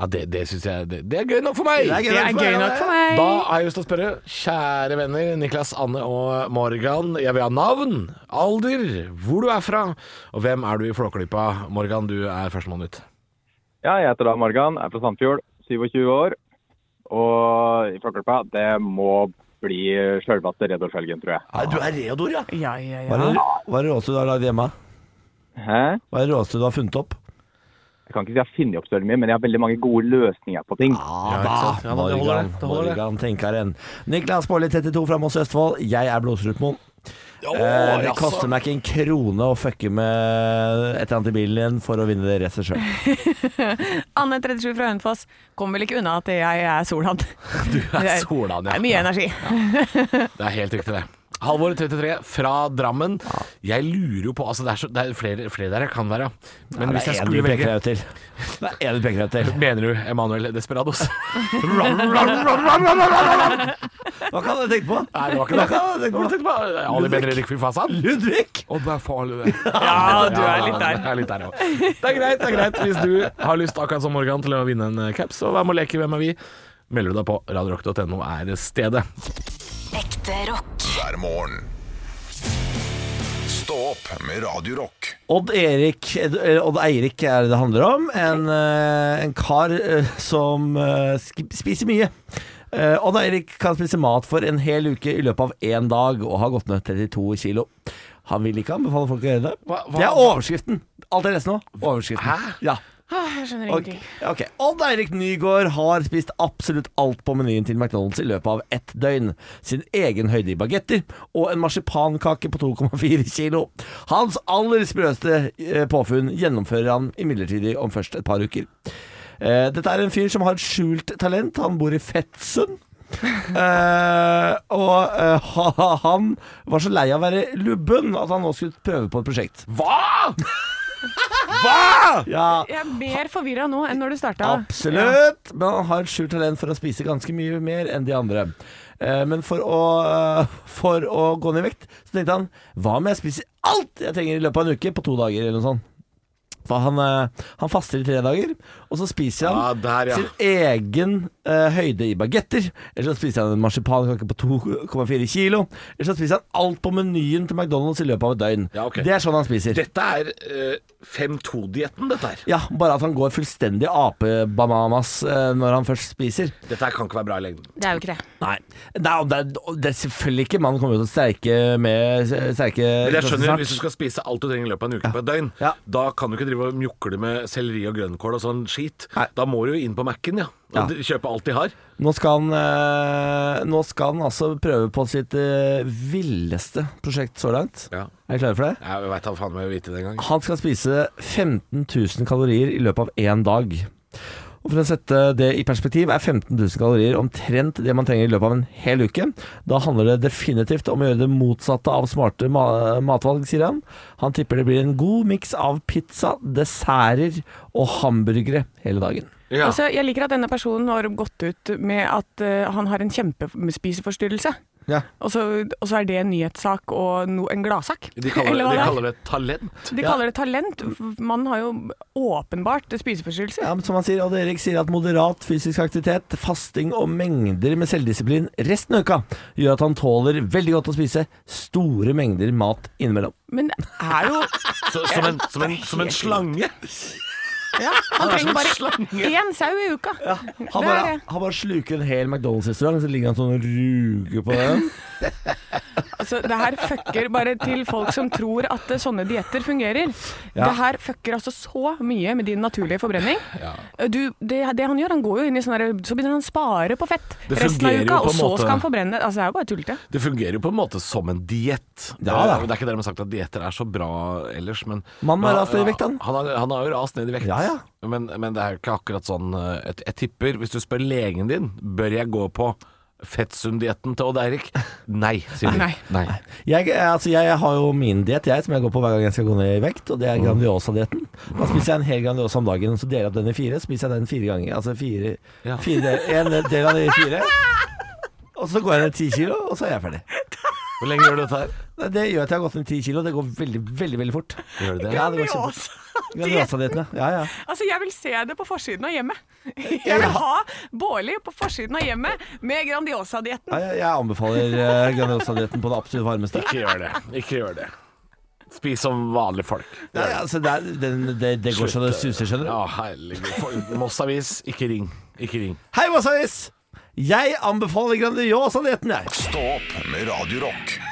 E: ja det, det syns jeg det, det er gøy nok for meg!
C: Det er gøy
D: Det er gøy nok for meg.
E: Da har jeg lyst til å spørre, kjære venner Niklas, Anne og Morgan. Jeg vil ha navn, alder, hvor du er fra, og hvem er du i Flåklypa? Morgan, du er førstemann ut.
J: Ja, jeg heter da Morgan, er fra Sandfjord, 27 år. Og i Flåklypa, det må bli sjølveste Reodor Felgen, tror jeg.
E: Du er Reodor, ja?
D: Ja, ja,
C: Hva
D: ja.
C: er det- hva er det råeste du har lagd hjemme?
J: Hæ?
C: Hva er det råeste du har funnet opp?
J: Jeg kan ikke si jeg har funnet opp så veldig mye, men jeg har veldig mange gode løsninger på ting.
C: Ja
E: ikke sant? Ah, Ja, men det holder
C: Altså, Morgan,
E: det. Det holder det.
C: Morgan tenker en. Niklas Baarli, 32 fra Moss i Østfold. Jeg er Blodstrutmoen. Eh, det koster meg ikke en krone å fucke med et eller annet i bilen din for å vinne det racet sjøl.
D: Anne 37 fra Hønefoss. Kommer vel ikke unna at jeg er Solan.
C: <laughs>
E: Du er Solan,
D: Det
E: ja.
D: er mye energi.
E: Det er helt riktig, det. Halvor 33 fra Drammen. Jeg lurer jo på Altså, det er, så, det er flere, flere der jeg kan være. Men
C: Det
E: hvis jeg
C: er én du
E: skulle
C: peker deg
E: velge
C: ut til. Det er én du peker deg ut til.
E: Mener du Emanuel <laughs> Desperados?
C: Hva kan jeg tenke på?
E: Nei, det var ikke det. det var tenkt på Ali Bedre Rikfy Fasan.
C: Ludvig!
E: Og det er farlig, <laughs> det.
D: Ja, du er litt
E: Jeg er litt der også. Det er greit, det er greit. Hvis du har lyst, akkurat som Morgan, til å vinne en eh, caps og være med å leke Hvem er vi? Melder du deg på. Radiorock.no er stedet.
A: Ekte rock.
B: hver morgen. Stå opp med Radio Rock.
C: Odd Erik eh, Odd Eirik er det det handler om. En, eh, en kar eh, som eh, sk- spiser mye. Eh, Odd Eirik kan spise mat for en hel uke i løpet av én dag og har gått ned 32 kilo. Han vil ikke anbefale folk å gjøre det.
E: Hva- hva-
C: Det er overskriften. Alt jeg leser nå. Overskriften.
E: Hæ?
C: Ja.
D: Jeg skjønner
C: Ok, ok. Odd Eirik Nygaard har spist absolutt alt på menyen til McDonald's i løpet av ett døgn. Sin egen høyde i bagetter og en marsipankake på 2,4 kilo. Hans aller sprøeste eh, påfunn gjennomfører han imidlertid om først et par uker. Eh, Dette er en fyr som har et skjult talent. Han bor i Fettsund. Eh, og eh, <laughs> ha, han var så lei av å være lubben at han nå skulle prøve på et prosjekt. <laughs>
E: Hva?!
C: Ja,
D: Jeg er mer forvirra nå enn når du starta.
C: Absolutt, men han har et skjult talent for å spise ganske mye mer enn de andre. Eh, Men for å, eh, for å gå ned i vekt, så tenkte han hva om jeg spiser alt jeg trenger i løpet av en uke på to dager eller noe sånt. For han, eh, han faster i tre dager, og så spiser han
E: Ja, der, ja.
C: sin egen eh, høyde i bagetter. Eller så spiser han en marsipankake på 2,4 kilo. Eller så spiser han alt på menyen til McDonald's i løpet av et døgn.
E: Ja, ok.
C: Det er sånn han spiser.
E: Dette er 5-2-dietten, dette her.
C: Ja, bare at han går fullstendig apebananas eh, når han først spiser.
E: Dette her kan ikke være bra i lengden.
D: Det er jo ikke det.
C: Nei, Nei og det, er, og det er selvfølgelig ikke Mannen kommer jo til å streike med streike
E: Men jeg skjønner,
C: snart.
E: Hvis du skal spise alt du trenger i løpet av en uke på et døgn,
C: Ja.
E: da kan du ikke drive og mjukle med selleri og grønnkål og sånn skit.
C: Nei.
E: Da må du jo inn på Mac-en ja,
C: Ja.
E: og d- kjøpe alt de har.
C: Nå skal han eh, Nå skal han altså prøve på sitt eh, villeste prosjekt så langt.
E: Ja.
C: Er dere klare for det?
E: Jeg veit da faen om jeg vil vite det engang.
C: Han skal spise 15 000 kalorier i løpet av én dag. Og For å sette det i perspektiv er 15 000 kalorier omtrent det man trenger i løpet av en hel uke. Da handler det definitivt om å gjøre det motsatte av smarte ma matvalg, sier han. Han tipper det blir en god miks av pizza, desserter og hamburgere hele dagen.
E: Ja.
D: Altså, jeg liker at denne personen har gått ut med at eh, han har en kjempespiseforstyrrelse.
C: Ja.
D: Og, så, og så er det en nyhetssak og no, en gladsak.
E: De kaller,
D: Eller
E: det,
D: hva
E: de
D: det er.
E: kaller det talent.
D: De kaller det talent. Man har jo åpenbart spiseforstyrrelser.
C: Ja, men som han sier, Odd Erik sier at moderat fysisk aktivitet, fasting og mengder med selvdisiplin resten av uka gjør at han tåler veldig godt å spise store mengder mat innimellom.
D: Men det er
E: <laughs>
D: jo
E: Så, som, en, som, en, som en slange.
D: ja, Man trenger bare én sau i uka.
C: Han
D: Det er
C: bare,
D: det.
C: han bare sluker en hel McDonald's-restaurant, så ligger han sånn og ruger på
E: <laughs>
C: den.
D: Altså, det her fucker bare til folk som tror at eh, sånne dietter fungerer. Det her fucker altså så mye med din naturlige forbrenning. Du, det, det han gjør, han går jo inn i sånn der Så begynner han å spare på fett
E: Det
D: resten av
E: fungerer
D: uka,
E: jo på
D: og
E: en
D: så
E: måte.
D: skal han forbrenne. Altså, det er jo bare tullete.
E: Det fungerer jo på en måte som en diett. Eh,
C: Ja, da.
E: det, er ikke dermed sagt at dietter er så bra ellers, men
C: Mannen har
E: men-
C: rast ned i vekt, han.
E: Han har, han har jo rast ned i vekt.
C: Ja, ja.
E: Men, men det er jo ikke akkurat sånn eh, jeg, jeg tipper, hvis du spør legen din Bør jeg gå på Fettsum-dietten til Odd Eirik, nei, sier de.
D: Nei.
C: Jeg, altså, jeg har jo min diett, jeg, som jeg går på hver gang jeg skal gå ned i vekt, og det er Grandiosa-dietten. Da spiser jeg en hel Grandiosa om dagen, så deler jeg opp den i fire, så spiser jeg den fire ganger. Altså fire,
E: Ja.
C: fire En del av det i
E: <laughs>
C: fire. Og så går jeg ned ti kilo, og så er jeg ferdig.
E: Hvor lenge gjør du dette her?
C: Nei, Det gjør at jeg har gått ned ti kilo. Det går veldig, veldig veldig fort.
E: Gjør du det?
C: Ja, det går kjempefort. Grandiosa-dietten, ja. ja. ja.
D: Altså, jeg vil se det på forsiden av hjemmet. <laughs> Jeg vil ha Bårli på forsiden av hjemmet med Grandiosa-dietten.
C: Ja, Jeg, jeg anbefaler eh, Grandiosa-dietten på det absolutt varmeste.
E: Ikke gjør det. Ikke gjør det. Spis som vanlige folk.
C: Nei, altså, det, er, den, det, det går så det suser, skjønner du.
E: Ja, herregud. For- Moss Avis, ikke ring. Ikke ring.
C: Hei, Wasavis! Jeg anbefaler Grandiosa-dietten, jeg.
B: Stå opp med Radio Rock.